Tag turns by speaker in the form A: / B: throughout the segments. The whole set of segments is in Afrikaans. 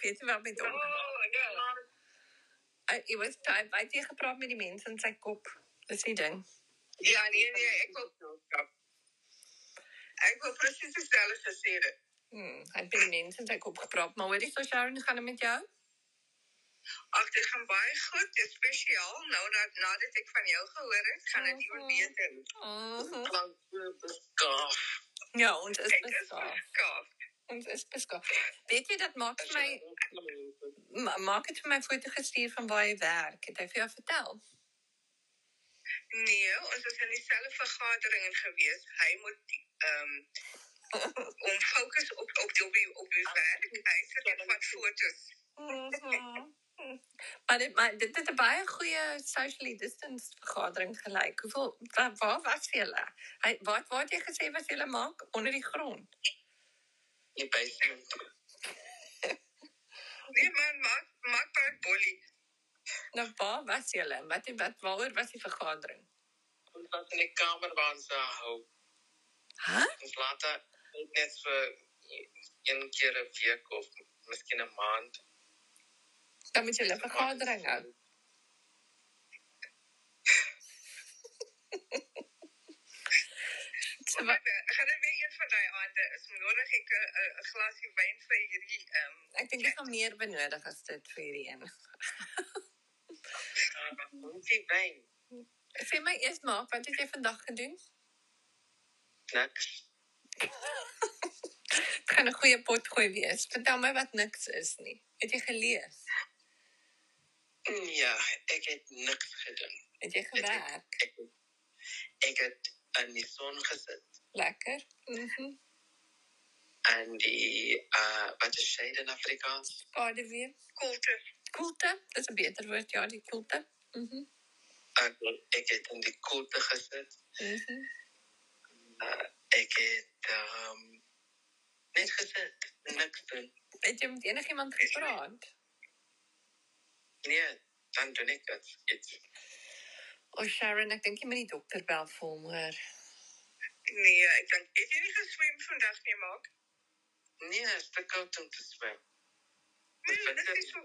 A: weet nie wat met hom.
B: Oh, ja.
A: Hy hy was hy hy het nie gepraat met die mense in sy kop. Dis die ding.
B: Ja, nee, nee, ek wil ja. Ek wil presies dieselfde gesê het.
A: Hmm, hy het met die mense in sy kop gepraat, maar hoorie so Sharon gaan dit met jou?
B: Ag, dit gaan baie goed. Dit is spesiaal nou dat nadat ek van jou gehoor het, gaan dit iemand beter.
A: Mhm.
B: Klank beskaaf.
A: Ja, ons is
B: Ek is
A: beskaaf.
B: beskaaf.
A: Ons is beskaaf. Weet jy dat maak vir my ma- maak het vir my foto gestuur van waar hy werk. Het hy vir jou vertel?
B: Nee, ons is in dieselfde vergadering gewees. Hy moet ehm om fokus op op die op die, op die werk. Hy sit net wat fotos.
A: Mhm. Maar dit maar dit het 'n baie goeie socially distanced vergadering gelyk. Hoeveel waar, waar was julle? Hy wat wat jy gesê was julle maak onder die grond.
B: Die basement. Nee man, maak maak baie bolly.
A: Nou waar was julle? Wat wat waaroor was die vergadering?
B: Ons was in die kamer waar ons daar hou.
A: Hæ?
B: Ons laat daar net vir een keer 'n week of miskien 'n maand.
A: Dan moet julle vergadering hou. So
B: Maar
A: wat
B: eh, gaan dit weer een van daai aande is nodig ek 'n 'n- 'n glasie wyn vir hierdie ehm
A: ek dink ek gaan meer benodig as dit vir hierdie een.
B: Eh, Moenie wyn.
A: Sê my eers maar, wat het jy vandag gedoen?
B: Niks.
A: Dit gaan 'n goeie pot gooi wees. Vertel my wat niks is nie. Het jy gelees?
B: Mm, Ja, ek het niks gedoen.
A: Het jy gewerk?
B: Ek ek het in die son gesit
A: Lekker. Mhm.
B: en die uh wat is sy in Afrikaans?
A: Skade weer.
B: Koelte.
A: Koelte, dis 'n beter woord, ja, die koelte. Mhm.
B: Ek ek het in die koelte gesit.
A: Mhm.
B: Uh, ek het ehm um, net gesit, niks doen.
A: Het jy met enigiemand gepraat?
B: Nee, dan doen ek dit. Iets.
A: O, oh, Sharon, ek dink jy moet die dokter bel vir hom hoor.
B: Nee, ek dink het jy nie geswem vandag nie, maak? Nee, dit is te koud om te swem. Nee, dit is so.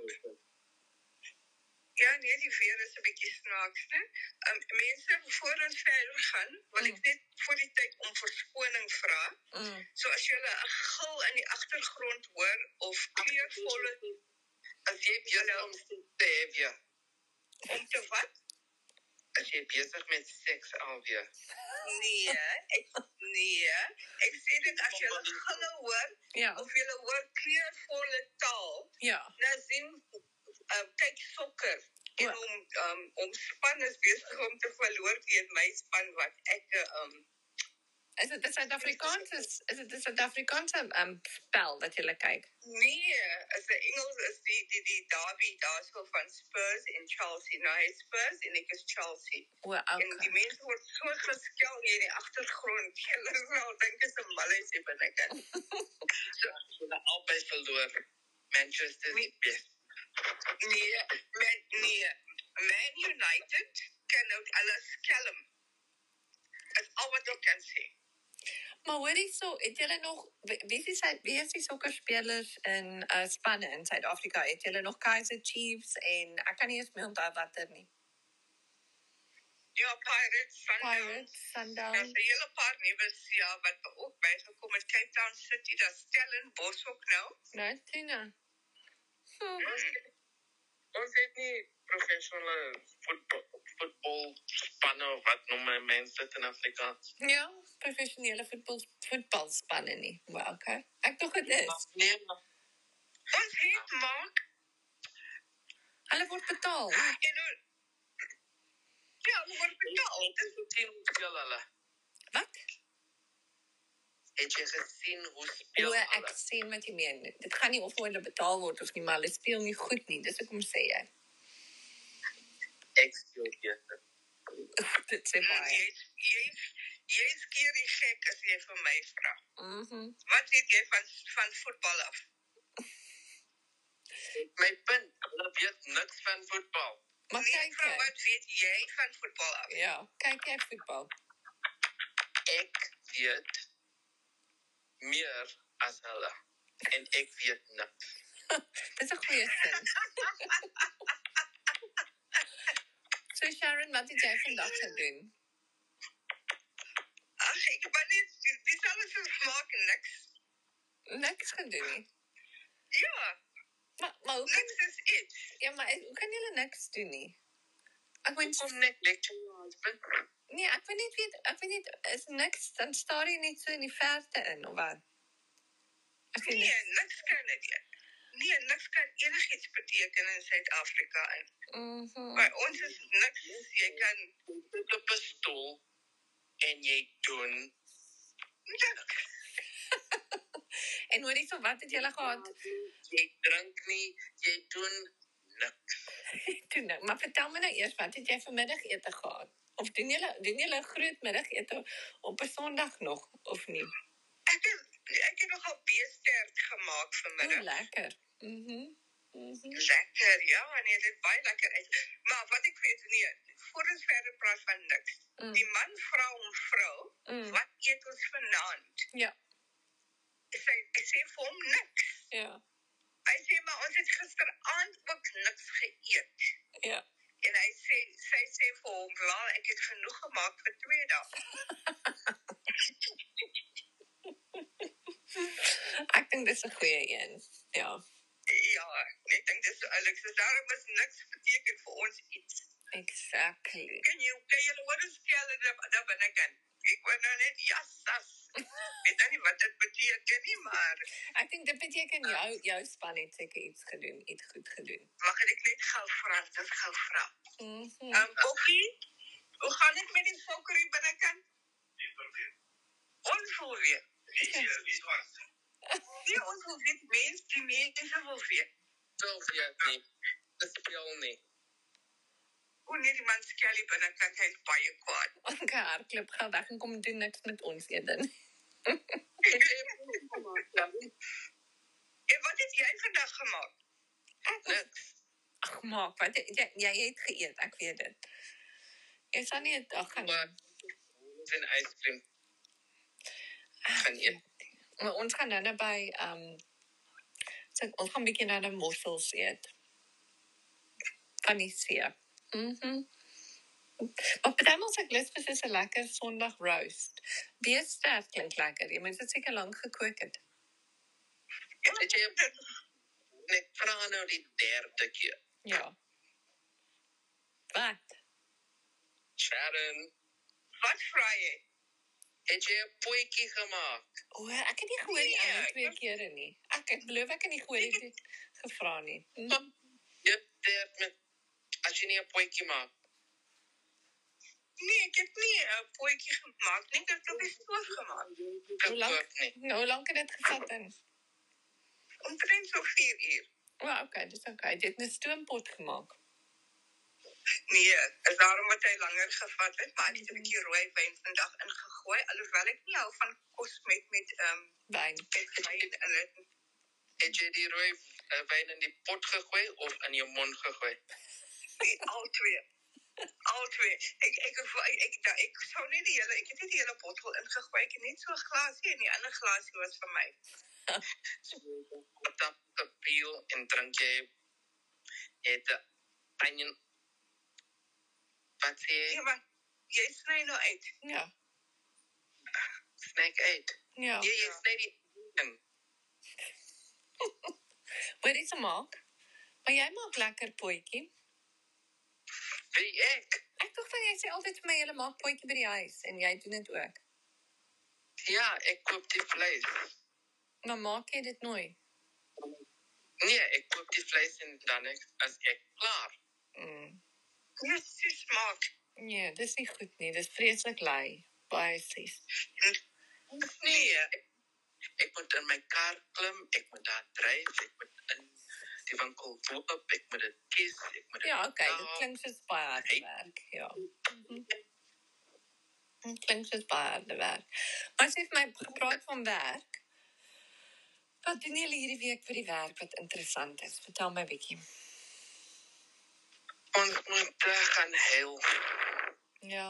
B: Ja, nee, die weer is 'n bietjie snaaks, né? Um, mense, voor ons verder gaan, wil ek net vir die tyd om verskoning vra.
A: Mm.
B: So as jy 'n gil in die agtergrond hoor of kleurvolle as jy besig om te ja. Om te wat? As jy besig met seks alweer. Nee, ek nee. Ek sê dit as jy 'n gil hoor
A: Ja,
B: of jy hoor kleurvolle taal,
A: ja.
B: dan sien uh, kyk sokker en
A: Ja.
B: hom um, om span is besig om te verloor teen my span wat ek 'n um,
A: Is dit 'n Suid-Afrikaanse is dit 'n Suid-Afrikaanse um, spel wat jy kyk?
B: Nee, as die Engels is die die die derby daarso van Spurs en Chelsea. Nou hy is Spurs en ek is Chelsea.
A: O,
B: En die
A: okay.
B: mense word so geskel hier in die agtergrond. Hulle sal dink is 'n malletjie binne kan. so hulle albei verloor. Manchester is die beste. Nee, man, nee. Man United kan ook hulle skelm. Is al wat ek kan sê.
A: Maar hoor hierso, het julle nog wie wie is hy wie is die sokkerspelers in uh, spanne in Suid-Afrika? Het julle nog Kaizer Chiefs en ek kan nie eens meer onthou watter nie.
B: Ja, Pirates, Sundowns.
A: Pirates,
B: Daar's
A: Sundowns.
B: 'n hele paar nuwe SIA wat ook bygekom het. Cape Town City, daar Stellenbosch ook nou.
A: Nou, Tina. Hm.
B: Ons het nie professionele voetbal voetbalspanne of wat noem mense dit in Afrika.
A: Ja, professionele voetbal voetbalspanne nie. Wel, okay. Ek dink dit is.
B: Nee. maar- Ons het maak
A: Hulle word betaal.
B: en o- ja, hulle word betaal. Dit is 'n team speel hulle.
A: Wat?
B: Het jy gesien hoe
A: O,
B: speel
A: ek sien wat jy meen. Dit gaan nie of hulle betaal word of nie, maar hulle speel nie goed nie. Dis hoekom sê jy.
B: Ek speel beter.
A: dit sê baie.
B: Jy jy jy skeer die gek as jy vir my vra.
A: Mhm.
B: Wat weet jy van van voetbal af? My punt, hulle weet niks van voetbal.
A: Maar
B: Nee,
A: kyk
B: vrou,
A: jy.
B: wat weet jy van voetbal af?
A: Ja, kyk jy voetbal.
B: Ek weet meer as hulle en ek weet niks.
A: Dis 'n goeie sin. So Sharon, wat het jy vandag gedoen?
B: Ag, ek Ah, ben niet, die alles is maken niks.
A: Niks gedoen nie.
B: Ja,
A: Maar maar hoe kan
B: niks is iets.
A: ja, maar hoe kan julle niks doen nie? Ek
B: Hoe
A: weet
B: kom net lectures bin?
A: nee, ek weet net weet ek weet net is niks dan staar jy net so in die verte in of wat? Ek weet
B: Nee,
A: nie.
B: niks kan dit. Nee, niks kan enigiets beteken in Suid-Afrika en by
A: Mhm.
B: ons is niks jy kan op 'n stoel en jy doen niks.
A: En hoorie so wat het julle gehad?
B: Jy drink nie, jy doen niks.
A: Toe nou, maar vertel my nou eers wat het jy vanmiddag ete gehad? Of doen julle doen julle 'n groot middagete op 'n Sondag nog of nie?
B: Ek het ek het nogal beesterd gemaak
A: O,
B: vanmiddag.
A: lekker. Mhm. Mhm.
B: Lekker, ja, nee, dit baie lekker uit. Maar wat ek weet nee, voor ons verder praat van niks.
A: Mm,
B: Die man vra hom vrou,
A: mm.
B: wat eet ons vanaand?
A: Ja,
B: Sy ek sê vir hom niks.
A: ja,
B: Hy sê maar ons het gisteraand ook niks geëet.
A: ja.
B: En hy sê sy sê vir hom, "La, ek het genoeg gemaak vir twee dae."
A: Ek dink dis 'n goeie een. Ja,
B: Ja, ek dink dis Alex, is daarom is niks beteken vir ons iets.
A: exactly.
B: Kan jy kan jy hoor ons stel dat dat binne kan. Ek word nou net jassas. Weet nou nie wat dit beteken nie, maar
A: Ek dink dit beteken jou jou span het seker iets gedoen, iets goed gedoen.
B: mag ek net gou vra, dit gou vra.
A: Mhm.
B: Ehm um, Kokkie, hoe gaan dit met die sokker hier binne kan? Ons wil weet. Nee, ons wil weet mense, die mense wil weet. Wil weet nie. Dit speel nie. Hoe net die man skelly binne kan hy is baie kwaad.
A: Ons gaan hardloop gaan weg en kom doen niks met ons eden.
B: en wat het jy vandag gemaak?
A: Ek
B: Niks.
A: Ag maak, wat jy, jy het geëet, ek weet dit. Jy sal nie 'n dag gaan
B: Sin ijscream gaan eet.
A: Maar ons gaan nou net by ehm um, so, ons gaan 'n bietjie na die mossels eet. Van die see. Mhm. Maar dan ons ek lus vir so 'n lekker Sondag roast. Beesterk klink lekker. Jy moet dit seker lank gekook het.
B: Het jy net vra nou die derde keer.
A: Ja. Wat?
B: Sharon, wat vra jy? Het jy 'n potjie gemaak?
A: O, ek het nie gehoor die
B: Nee,
A: ander
B: ek
A: twee
B: dink-
A: kere nie. Ek ek belowe ek het nie gehoor die twee gevra nie. Mhm.
B: Dit derd met as jy nie 'n potjie maak. Nee, ek het nie 'n potjie gemaak nie, ek het op die stoof gemaak.
A: Hoe lank?
B: Ek ook nie.
A: Nou, hoe lank het dit gevat dan?
B: Omtrent so 4 uur.
A: O, okay, dis okay. Dit het 'n stoompot gemaak.
B: Nee, is daarom wat hy langer gevat het, maar ek het 'n bietjie rooi wyn vandag ingegooi, alhoewel ek nie hou van kos met met ehm um,
A: Wyn.
B: met wyn in dit. Het jy die rooi eh, wyn in die pot gegooi of in jou mond gegooi? Nee, al twee. Al twee. Ek ek ek ek, ek, ek sou nie die hele ek het nie die hele bottel ingegooi, ek het net so 'n glasie en die ander glasie was vir my. Tap the peel en drink jy het 'n onion wat sê jy? Ja, maar jy sny nou uit.
A: Ja.
B: Sny uit.
A: Ja.
B: Jy jy sny die in.
A: Wat is maak? Maar jy maak lekker potjie.
B: Wie ek?
A: Ek dink van jy sê altyd vir my jy maak potjie by die huis en jy doen dit ook.
B: Ja, ek koop die vleis.
A: Maar maak jy dit nooit?
B: Nee, ek koop die vleis en dan ek, as ek klaar.
A: Mm.
B: Presies maak.
A: Nee, dis nie goed nie. Dis vreeslik lui. Baie sies.
B: Nee, ek, ek moet in my kar klim, ek moet daar dryf, ek moet in die winkel loop, ek moet dit kies, ek moet dit
A: Ja, okay, dit
B: betaal.
A: klink soos baie harde werk, dus ja. Mhm. Dit klink soos baie harde werk. Maar as jy vir my gepraat van werk, wat doen julle hierdie week vir die werk wat interessant is? Vertel my 'n bietjie.
B: Ons moet eh, gaan huil.
A: Ja.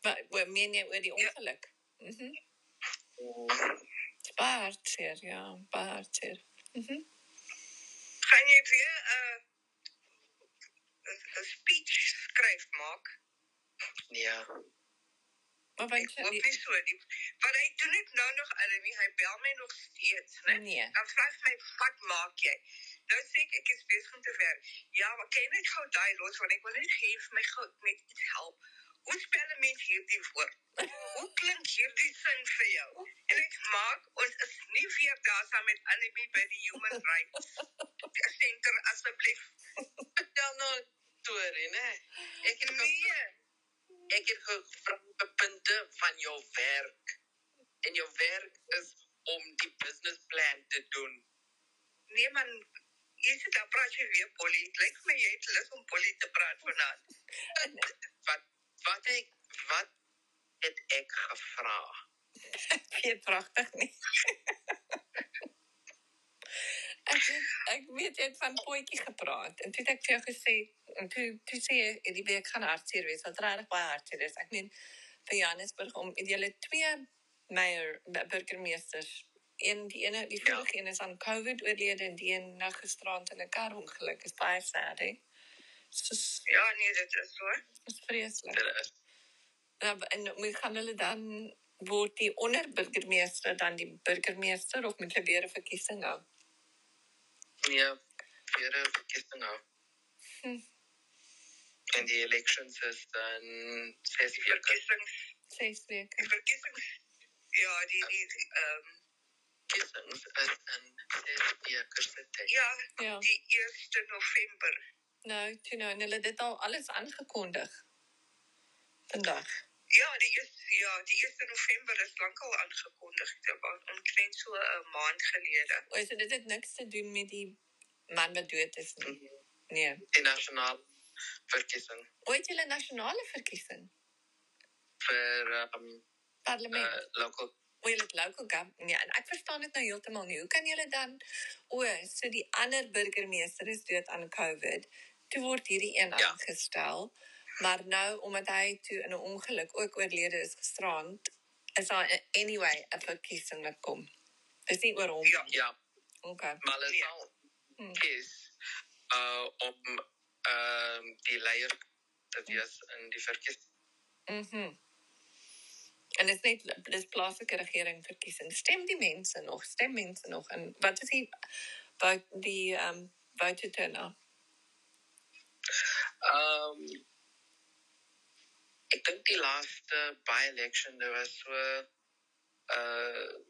A: Wat wat meen jy oor die ongeluk? Mhm. Mm
B: Ja.
A: baie hartseer, ja, baie hartseer. Mhm.
B: Gaan jy weer 'n 'n speech skryf maak? Nee.
A: Maar
B: Ek
A: want
B: hoop
A: jy
B: nie so nie. Want hy doen dit nou nog alre nie. Hy bel my nog steeds, né?
A: nee.
B: Dan vra hy my, "Wat maak jy?" Nou sê ek ek is besig om te werk. Ja, maar kan jy net gou daai los want ek wil net hê jy vir my gou net iets help. Hoe spel 'n mens hierdie woord? Hoe klink hierdie sin vir jou? En ek maak ons is nie weer daar saam met Annelie by die Human Rights Center asseblief.
C: vertel nou 'n storie, né? Ek het
B: Nee,
C: gevra- ek het gevra oor punte van jou werk. En jou werk is om die business plan te doen.
B: nee man, jy sit daar praat jy weer polie. Het Lyk vir my jy het lus om polie te praat vanaand.
C: Wat wat ek wat het ek gevra?
A: Weet pragtig nie. ek weet, ek weet jy het van potjie gepraat en toe het ek vir jou gesê en toe toe sê jy hierdie week gaan hartseer wees. Wat regtig baie hartseer is. Ek meen vir Johannesburg om en julle twee meier burgemeesters en die ene die
C: Ja.
A: vorige een is aan COVID oorlede en die een nou gisterand in 'n karongeluk is baie sad hè. Dis
B: Ja, nee, dit is so.
A: dis vreeslik.
C: Dit is
A: Ja, en moet gaan hulle dan word die onderburgemeester dan die burgemeester of moet hulle weer 'n verkiesing hou?
C: nee, weer 'n verkiesing hou.
A: Hm.
C: En die elections is dan 6
B: Die
C: weke.
B: verkiesings,
A: Ses weke.
B: die verkiesings. Ja, die die die, ehm um,
C: Verkiesings is in 6 weke se tyd.
B: ja,
A: Ja.
B: die 1 November.
A: Nou, toe nou en hulle het dit al alles aangekondig. Vandag.
B: Ja, die eerste, ja, die 1 November is lankal aangekondig. Dit was omtrent so 'n maand gelede.
A: O, so dit het niks te doen met die man wat dood is nie. Nee.
C: Die nasionale verkiesing
A: Ooit julle nasionale verkiesing?
C: vir um,
A: Parlement.
C: uh, local
A: O, julle het local government. Ja, en ek verstaan dit nou heeltemal nie. Hoe kan julle dan o, so die ander burgemeester is dood aan COVID. Toe word hierdie een
C: Ja.
A: aangestel. Maar nou omdat hy toe in 'n ongeluk ook oorlede is gisterand, is daar anyway 'n verkiesing wat kom. Dis nie oor hom.
B: Ja.
C: Ja,
A: Okay.
C: maar hulle
B: Nee.
C: sal
A: Hm.
C: kies uh, om ehm die leier te wees in die verkiesing.
A: Mhm. en dit is net dis plaaslike regering verkiesing. Stem die mense nog, stem mense nog in. Wat is die wat die ehm um, voter turnout?
C: Ehm ek dink die laaste uh, by-election daar was so uh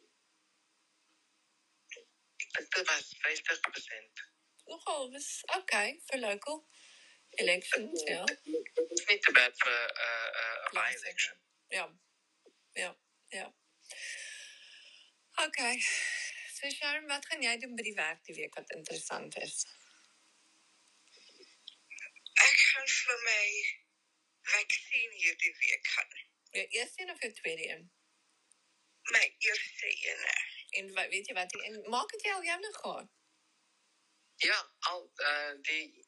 C: ek dink dit was 50%.
A: Nogal, dis okay vir local elections, ja.
C: Dit is nie te bad vir 'n uh, 'n uh, by-election.
A: Ja. Ja. Ja. Okay. So Sharon, wat gaan jy doen by die werk die week wat interessant is?
B: Ek gaan vir my vaksin hierdie week gaan.
A: Jou eerste een of jou tweede een?
B: My eerste een.
A: En wat weet jy wat die en maak dit jy al jou nog gehad?
C: Ja, al uh, die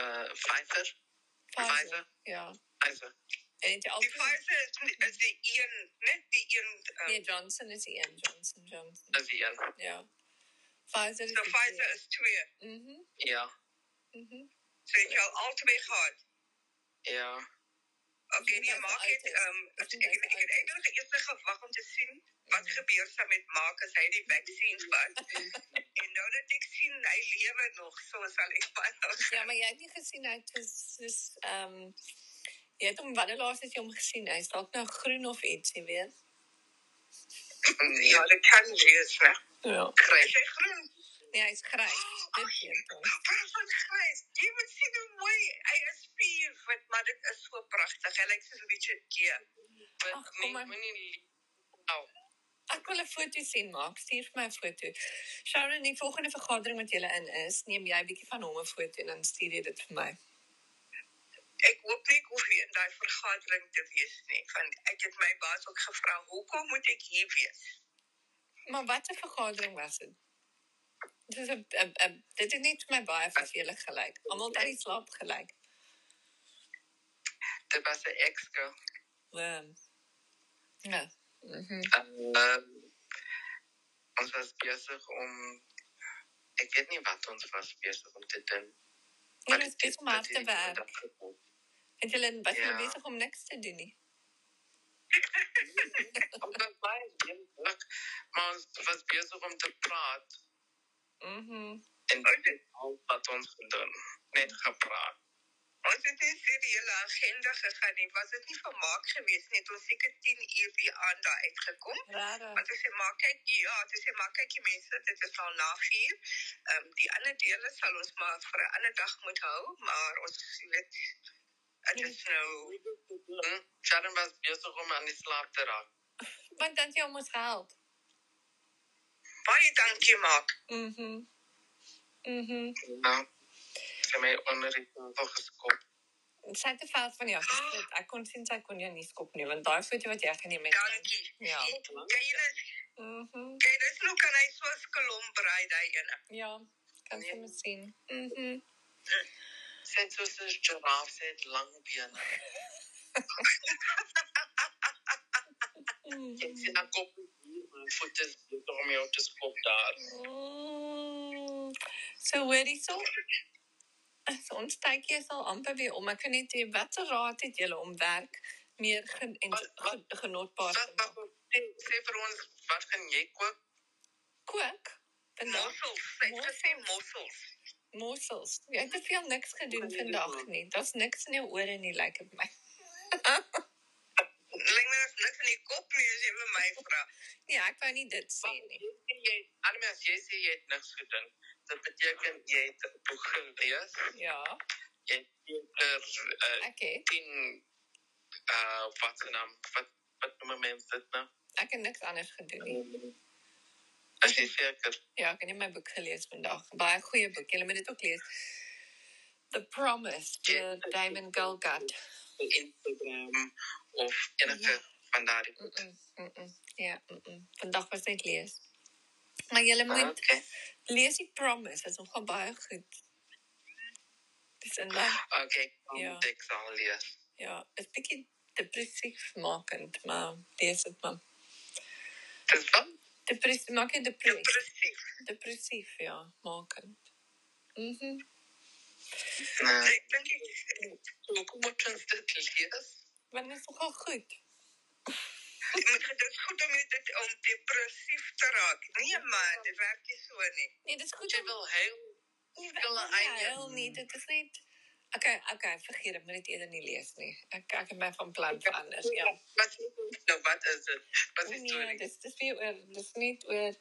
C: uh Pfizer,
A: Pfizer.
C: Pfizer,
A: Ja.
C: Pfizer.
A: En het jy al
B: Die Pfizer is nie- is die een, net die een. ehm,
A: Nee, Johnson is die een, Johnson Johnson.
C: Dis die een.
A: Ja. Pfizer is
B: So Pfizer is twee.
A: Mhm. Mm
C: Ja,
A: mhm. Mm
B: So het jy al albei gehad?
C: ja.
B: Okay,
A: Dis
B: nee,
A: nie dat
B: maak
A: hy
B: dit
A: uit is.
B: ehm
A: Dis
B: ek
A: nie
B: ek
A: dat
B: ek
A: hy
B: het
A: uit is.
B: eintlik eers gewag om te sien wat gebeur sal met Mark as hy die vaksin vat. en nou dat ek sien hy lewe nog, so sal ek baie
A: Ja, maar jy het nie gesien hy het is is ehm um, jy het hom wanneer laas het jy hom gesien? Hy's dalk nou groen of iets, jy weet.
C: Nee,
B: Ja, dit kan wees, né?
A: Ja.
C: kry
B: Is hy groen?
A: Nee, hy's grys. Dit weet hom.
B: Wat van grys? Jy moet sien hoe mooi hy is spier wit, maar dit is so pragtig. Hy lyk soos Richard Gere.
A: Ag,
C: Ag,
A: kom
C: nee,
A: maar.
C: moenie
A: Ek wil 'n foto sien maak. Stuur vir my 'n foto. Sharon, die volgende vergadering wat jy in is, neem jy 'n bietjie van hom 'n foto en dan stuur jy dit vir my.
B: Ek hoop nie ek hoef hier in daai vergadering te wees nie. Want ek het my baas ook gevra, "Hoekom moet ek hier wees?"
A: Maar wat 'n vergadering was dit? Dit is 'n 'n- 'n- dit het net vir my baie vervelig gelyk. Almal het uit die slaap gelyk.
C: dit was 'n ekske.
A: Ehm. Ja. Mhm.
C: Ehm Ons was besig om ek weet nie wat ons was besig om te doen. maar
A: Julle is
C: dit-
A: besig om
C: dit
A: hard te
C: het
A: werk.
C: vandag gekom.
A: En julle was julle
C: Ja.
A: besig om niks te doen nie.
C: Ons was baie druk, maar ons was besig om te praat
A: Mhm.
C: en dit is al wat ons gedoen. Net gepraat.
B: Ons het nie vir die hele agenda gegaan nie. Was dit nie vermaak geweest nie? Het ons seker 10 uur die aand daar uitgekom.
A: Regtig.
B: Want as jy maar kyk, ja, as jy maar kyk die mense, dit is al na 4. Ehm um, die ander dele sal ons maar vir 'n ander dag moet hou, maar ons jy weet dit is nou
C: Hm? Sharon was besig om aan die slaap te raak.
A: Want dan het jy ons gehelp.
B: baie dankie maak.
A: Mhm. Mhm.
C: Ja. Nou, Sy het my onder die tafel geskop.
A: Sy het te veel van jou gesit. Ek kon sien sy kon jou nie skop nie want daai foto wat jy geneem het.
B: Dankie.
A: Ja.
B: Kairis,
A: Mhm.
B: Kairis nou kan hy so skelom braai daai ene.
A: Ja, kan jy mos sien. Mhm.
C: Sy het soos 'n giraf, sy het lang bene. Ek
A: Mhm.
C: sien haar kop hier, maar voet is besig om jou te skop daar.
A: Mm, So hoor hierso. So ons tydjie is al amper weer om. Ek kan net sê watter raad het julle om werk meer gen en
C: Wat- wat-
A: ge- genootbaar
C: Wat
A: te
C: wat
A: maak?
C: sê, sê vir ons, wat gaan jy koop?
A: Kook
B: Mossels,
A: vandag
B: sy het gesê
A: Ja. Mossels.
B: mossels.
A: mossels. Jy het te veel niks gedoen
C: Nee,
A: vandag
C: maar-
A: nie. Daar's niks in jou ore nie, lyk like dit my.
B: Lyk my daar's niks in die kop nie as jy vir my vra.
A: Nee, ek wou nie dit sê nie.
C: Jy, Annelie, as jy sê jy het niks gedoen, dit beteken jy het 'n boek gelees,
A: Ja,
C: jy het seker uh,
A: ek het
C: 10 uh wat se naam, wat wat noem mense dit nou?
A: ek het niks anders gedoen nie.
C: As jy seker
A: Ja, ek het net my boek gelees vandag. Baie goeie boek. Jy moet dit ook lees. The Promise deur Damon Galgut.
C: op Instagram of enige
A: Ja.
C: van daardie
A: Mm, mm, mm, mm. Ja, mm, mm. vandag was net lees. Maar jy moet
C: Okay.
A: lees die promise, dit is nogal baie goed. Dis en dan
C: Okay, kom
A: Ja.
C: Ah, ek sal lees.
A: ja, is bietjie depressief makend, maar lees dit maar.
C: Dis wat?
A: Depressief maak jy depressief,
B: Depressief.
A: depressief ja, makend. Mhm.
C: Nee.
B: Ek dink ek
C: Hoekom moet ons dit lees?
A: Want dit is nogal goed.
B: moet dit is goed om jy dit om depressief te raak. Nee man, dit werk nie so nie.
A: Nee, dit is goed
C: Jy
A: om
C: wil heel
A: nie
C: wil einde.
A: huil nie, dit is net Okay, okay, vergeet dit, moet dit eerder nie lees nie. Ek ek het my van plan verander. Ja.
C: Wat nou wat is dit? Wat is die
A: Nee,
C: storie?
A: dis dis weer oor dis net oor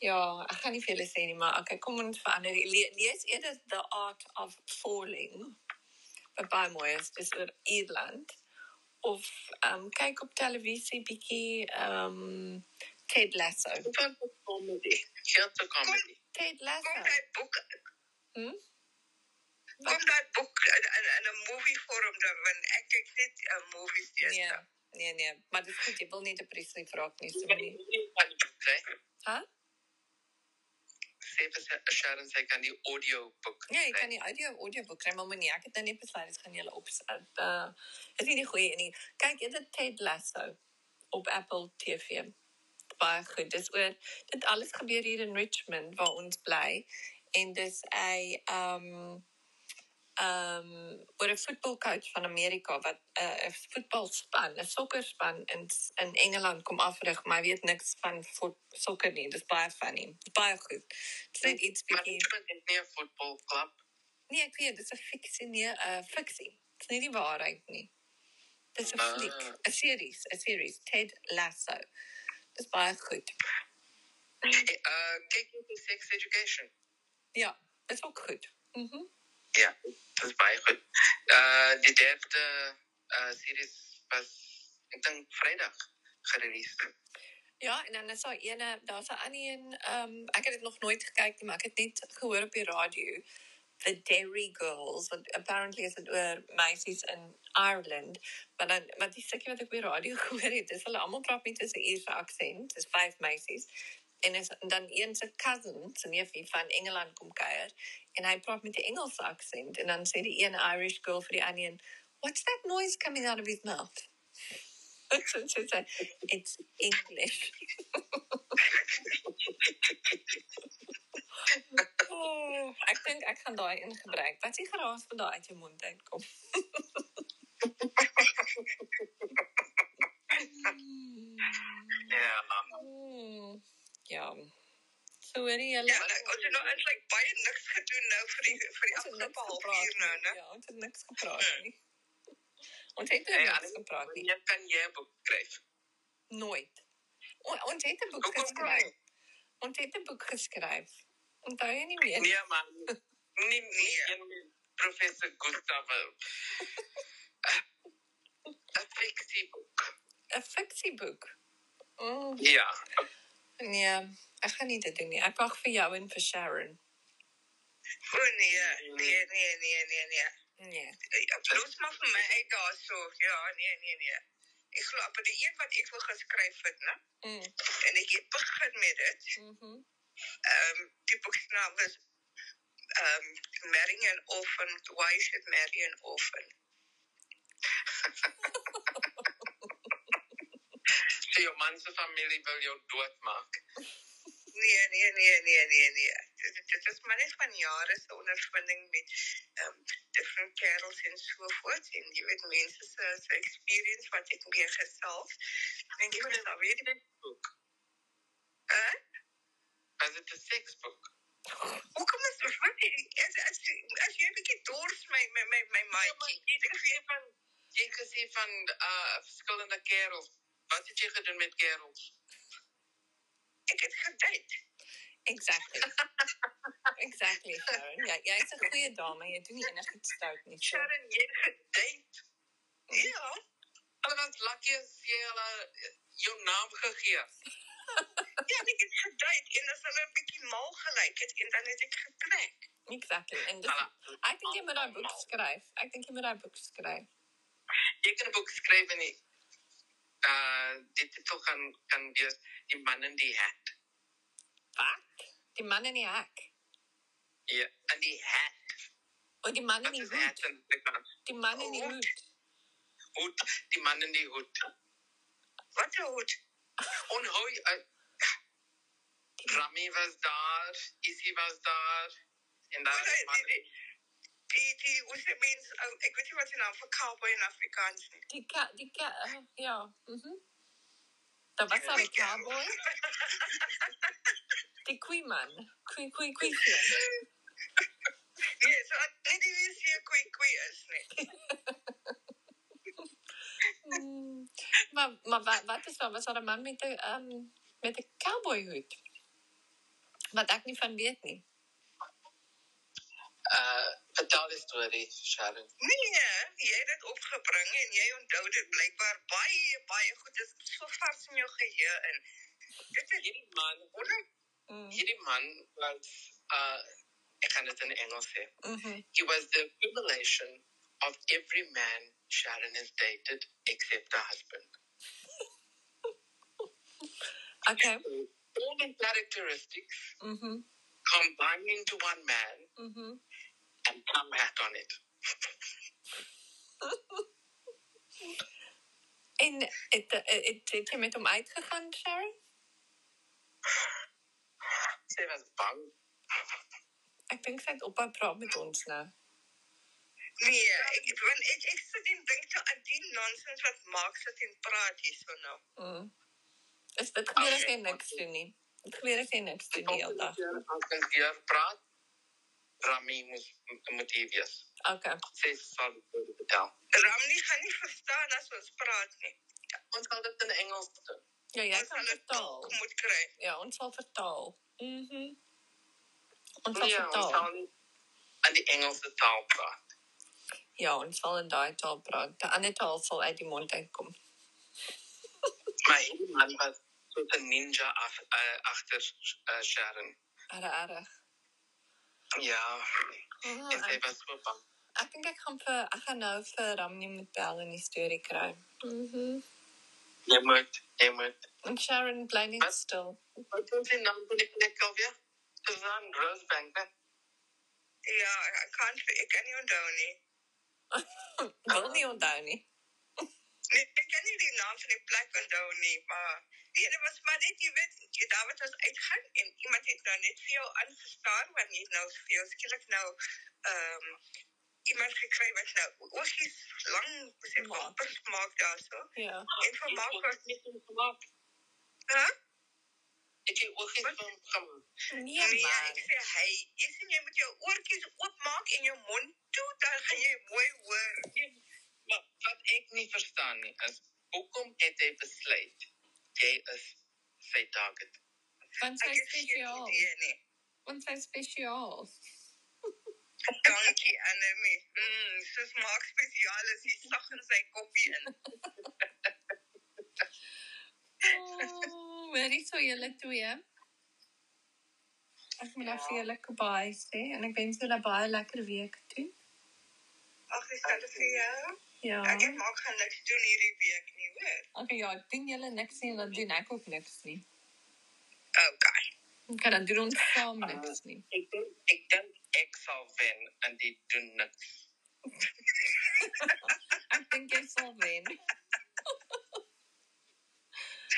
A: ja, ek gaan nie vir julle sê nie, maar okay, kom ons verander. Le lees eerder The Art of Falling. By baie mooi is dis oor Ierland of ehm um, kyk op televisie bietjie ehm um, Ted Lasso.
C: Wat is comedy? Heel te comedy.
A: Ted
B: Kom
A: Lasso.
B: daai boek,
A: Hm?
B: kom daai boek in in, in 'n movie vorm dan want ek kyk net 'n movies teens.
A: Nee, nee nee, maar dit is goed, jy wil nie depressief raak nie, so nie. Hæ?
C: Sê vir sy- Sharon sy kan die audio boek.
A: Ja, jy kan die audio audioboek kry, maar moenie ek het nou net besluit dit gaan julle opsit. Uh is nie die goeie een nie. Kyk, dit Ted Lasso op Apple TV. Baie goed. Dis oor dit alles gebeur hier in Richmond waar ons bly en dis 'n um um oor 'n voetbalcoach van Amerika wat 'n uh, voetbalspan, 'n sokkerspan in in Engeland kom afrig, maar hy weet niks van voet, sokker nie. Dis baie funny. Baie goed. Dit is net iets
C: Maar
A: bietjie
C: Richmond het nie 'n voetbalklub.
A: Nee, ek weet, dit is 'n fiksie, nee, 'n fiksie. Dit is nie die waarheid nie. Dit is 'n
C: Ah.
A: fliek, 'n series, 'n series Ted Lasso. Dis baie goed.
C: Uh, kyk jy vir sex education?
A: Ja, is ook goed. Mhm.
C: Ja, dis baie goed. Uh die derde uh series was ek dink Vrydag gereleased.
A: Ja, en dan is daar eene, daar's 'n ander een, ehm um, ek het dit nog nooit gekyk nie, maar ek het net gehoor op die radio The Dairy Girls wat apparently is dit oor meisies in Ireland, maar dan wat die stukkie wat ek op die radio gehoor het, is hulle almal praat met 'n Ierse aksent, dis vyf meisies. En is en dan een se cousin, sy neefie van Engeland kom kuier en hy praat met 'n Engelse aksent en dan sê die een Irish girl vir die ander een, "What's that noise coming out of his mouth?" so sy sê, "It's English." Oh, dink ek gaan daai een gebruik. Wat s'ie geraas van daai uit jou mond uitkom?
C: Ja,
A: Hmm. Ja. So hoorie
B: Ja,
A: julle.
B: nou, ons het nou eintlik baie niks gedoen nou vir die vir die
A: Ons het niks
B: afgelope halfuur nou,
A: gepraat nie.
B: né? Hmm.
A: Ja, ons het niks gepraat nie. Ons
B: Ja,
A: het
C: Hey,
A: hey, niks
C: Annelie,
A: gepraat nie.
C: wanneer kan jy 'n boek skryf?
A: Nooit. O, ons het 'n boek
C: Hoekom
A: geskryf. Ons het 'n boek geskryf. Onthou jy nie meer nie?
C: Nee man, nie nie een met professor Gustav. Dit fiksie boek.
A: 'n Fiksieboek. O, oh,
C: Ja.
A: nee, ek gaan nie dit doen nie. Ek wag vir jou en vir Sharon.
B: O nee, nee, nee, nee, nee, nee.
A: Nee.
B: Los maar vir my uit daarso. Ja, nee, nee, nee. Ek glo amper die een wat ek wil geskryf het, né?
A: Mm.
B: En ek het begin met dit.
A: Mhm.
B: Ehm um, die boek se naam was ehm um, Marrying an Orphan, Why You Should Marry an Orphan.
C: So jou man se familie wil jou doodmaak.
B: Nee, nee, nee, nee, nee, nee. Dit, dit- dit is maar net van jare se ondervinding met ehm different kerels en so voort en jy weet mense se se experience wat ek mee gesels. Dink ek nou was alweer die
C: Boek.
B: Hæ?
C: Was dit 'n seksboek?
B: Hoe kom dit wat jy as as as jy 'n bietjie dors my my my my
C: Ja, maar
B: maatjie.
C: jy het gesê van jy het gesê van uh verskillende kerels. Wat het jy gedoen met kerels?
B: Ek het gedate.
A: Exactly. Exactly, Sharon. Ja, jy's 'n goeie dame. Jy doen nie enigiets stout nie. So.
B: Sharon, jy het gedate. Ja,
C: Hulle was lucky as jy hulle eh, jou naam gegee.
B: ja, ek het gedate en as hulle 'n bietjie mal gelyk het en dan het ek getrek.
A: Exactly. En dis
C: Hulle
A: Ek dink jy moet daai boek skryf. Ek dink jy moet daai boek skryf.
C: jy kan 'n boek skryf en die uh dit titel kan kan wees die man in die hat.
A: Wat? Die man in die hek.
C: Ja, in die hat.
A: O, die man
C: Wat
A: in die
C: is hat
A: hoed.
C: in Afrikaans?
A: Die man in die
B: Hoed.
A: hoed.
C: Hoed, die man in die hoed.
B: Wat 'n hoed.
C: Onhou uh, Rami was daar, Issy was daar en daar
B: Maar
C: was
B: die-
C: man.
B: die- die- Die die hoe se mens ou, ek weet nie wat die naam vir cowboy in Afrikaans is.
A: Die ka, die ka, uh, ja. Mhm. Daar was daar 'n cowboy. Die koeiman. Koei koei koei. seun.
B: Nee, so ek weet nie wie se koei koei is nie.
A: Mm. Maar maar wat wat is daar? Was daar 'n man met 'n ehm um, met 'n cowboy hoed? Wat ek nie van weet nie.
C: Uh vertel die storie, Sharon.
B: Nee, jy het dit opgebring en jy onthou dit blykbaar baie baie goed. Dit is so vars in jou geheue in. Dit is
C: Hierdie man,
B: wonder
A: Mm.
C: hierdie man was uh ek kan dit in Engels sê.
A: Mhm.
C: He was the revelation of every man Sharon has dated except her husband.
A: Okay.
C: All the characteristics
A: Mhm.
C: combined into one man
A: Mhm.
C: and come hat on it.
A: En het het, het, het jy met hom uitgegaan, Sharon?
C: Sy was bang.
A: Ek dink sy het op haar praat met ons nou.
B: nee, ek want ek ek sit en dink so aan die nonsens wat maak sit en praat hierso nou.
A: Mm. Is dit gebeur as
C: Okay.
A: jy niks doen nie? Dit gebeur as jy niks
C: Sy
A: doen die hele dag.
C: Ons kan hier praat. Rami moes moet hier wees.
A: Okay.
C: Sy sal dit vertel.
B: Ramni gaan nie verstaan as ons praat nie.
C: Ons sal dit in Engels doen.
A: Ja, jy
B: Ons
A: kan
B: gaan 'n
A: vertaal.
B: tolk moet kry.
A: Ja, ons sal vertaal. Mhm. ons sal
C: Ja, ons
A: vertaal.
C: sal nie in die Engelse taal praat.
A: Ja, ons sal in daai taal praat. Die ander taal sal uit die mond uitkom.
C: Maar hierdie man was soos 'n ninja af, uh, agter uh, Sharon.
A: Ara ara.
C: Ja,
A: Oh,
C: en sy
A: ek,
C: was so bang.
A: ek dink ek gaan vir ek gaan nou vir Ramni moet bel en die storie kry. Mhm.
C: Jy moet, jy moet.
A: En Sharon bly net
C: Wat?
A: stil.
C: Wat nou? is die naam van die plek alweer? Suzanne Rosebank. né?
B: Ja, ek kan ek kan nie onthou nie.
A: Wil nie onthou nie.
B: uh, Nee, ek kan nie die naam van die plek onthou nie, maar nee, dit was maar net jy weet, jy- daar wat ons uitgaan en iemand het nou net vir jou aangestaan want jy het nou vir jou skielik nou ehm iemand gekry wat nou ons is lang se
A: Maak.
B: amper maak daarso.
A: Ja.
B: En vermaak was
C: net om gemaak.
B: hè?
C: Het jy oogies
B: Wat?
C: van gemaak?
A: Nee,
B: Nee,
A: man.
B: ek sê hy, jy sien jy moet jou oortjies oopmaak en jou mond toe dan gaan jy mooi hoor.
C: Maar wat ek nie verstaan nie is hoekom het hy besluit jy is sy target.
A: Want
B: Ek
A: sy's
B: het geen
A: spesiaal.
B: idee nie.
A: Want sy's spesiaal.
B: Dankie Annelie. Mm, soos maak spesiaal is hy sag in sy koffie in.
A: Oh, hoorie so julle twee. Ek moet nou
B: Ja.
A: vir julle goodbye sê en ek wens julle baie lekker week toe.
B: Ag, dis dan vir jou.
A: Ja.
B: Ek het maak gaan niks doen hierdie week nie, hoor.
A: Okay, ja, ek doen julle niks nie en dan doen ek ook niks nie.
B: Okay.
A: Okay, dan doen ons saam niks nie.
C: Ek dink ek dink ek sal wen en dit doen niks.
A: Ek dink jy sal wen.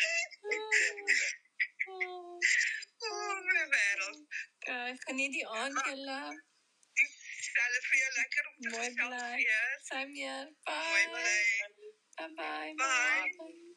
B: O, oh, my wêreld.
A: Okay, geniet die aand julle.
B: Stel vir jou lekker om te
A: Mooi
B: gesels
A: bly.
B: weer.
A: Same hier.
B: Mooi
A: Bye.
B: bly.
A: Bye bye.
B: Bye.
A: bye.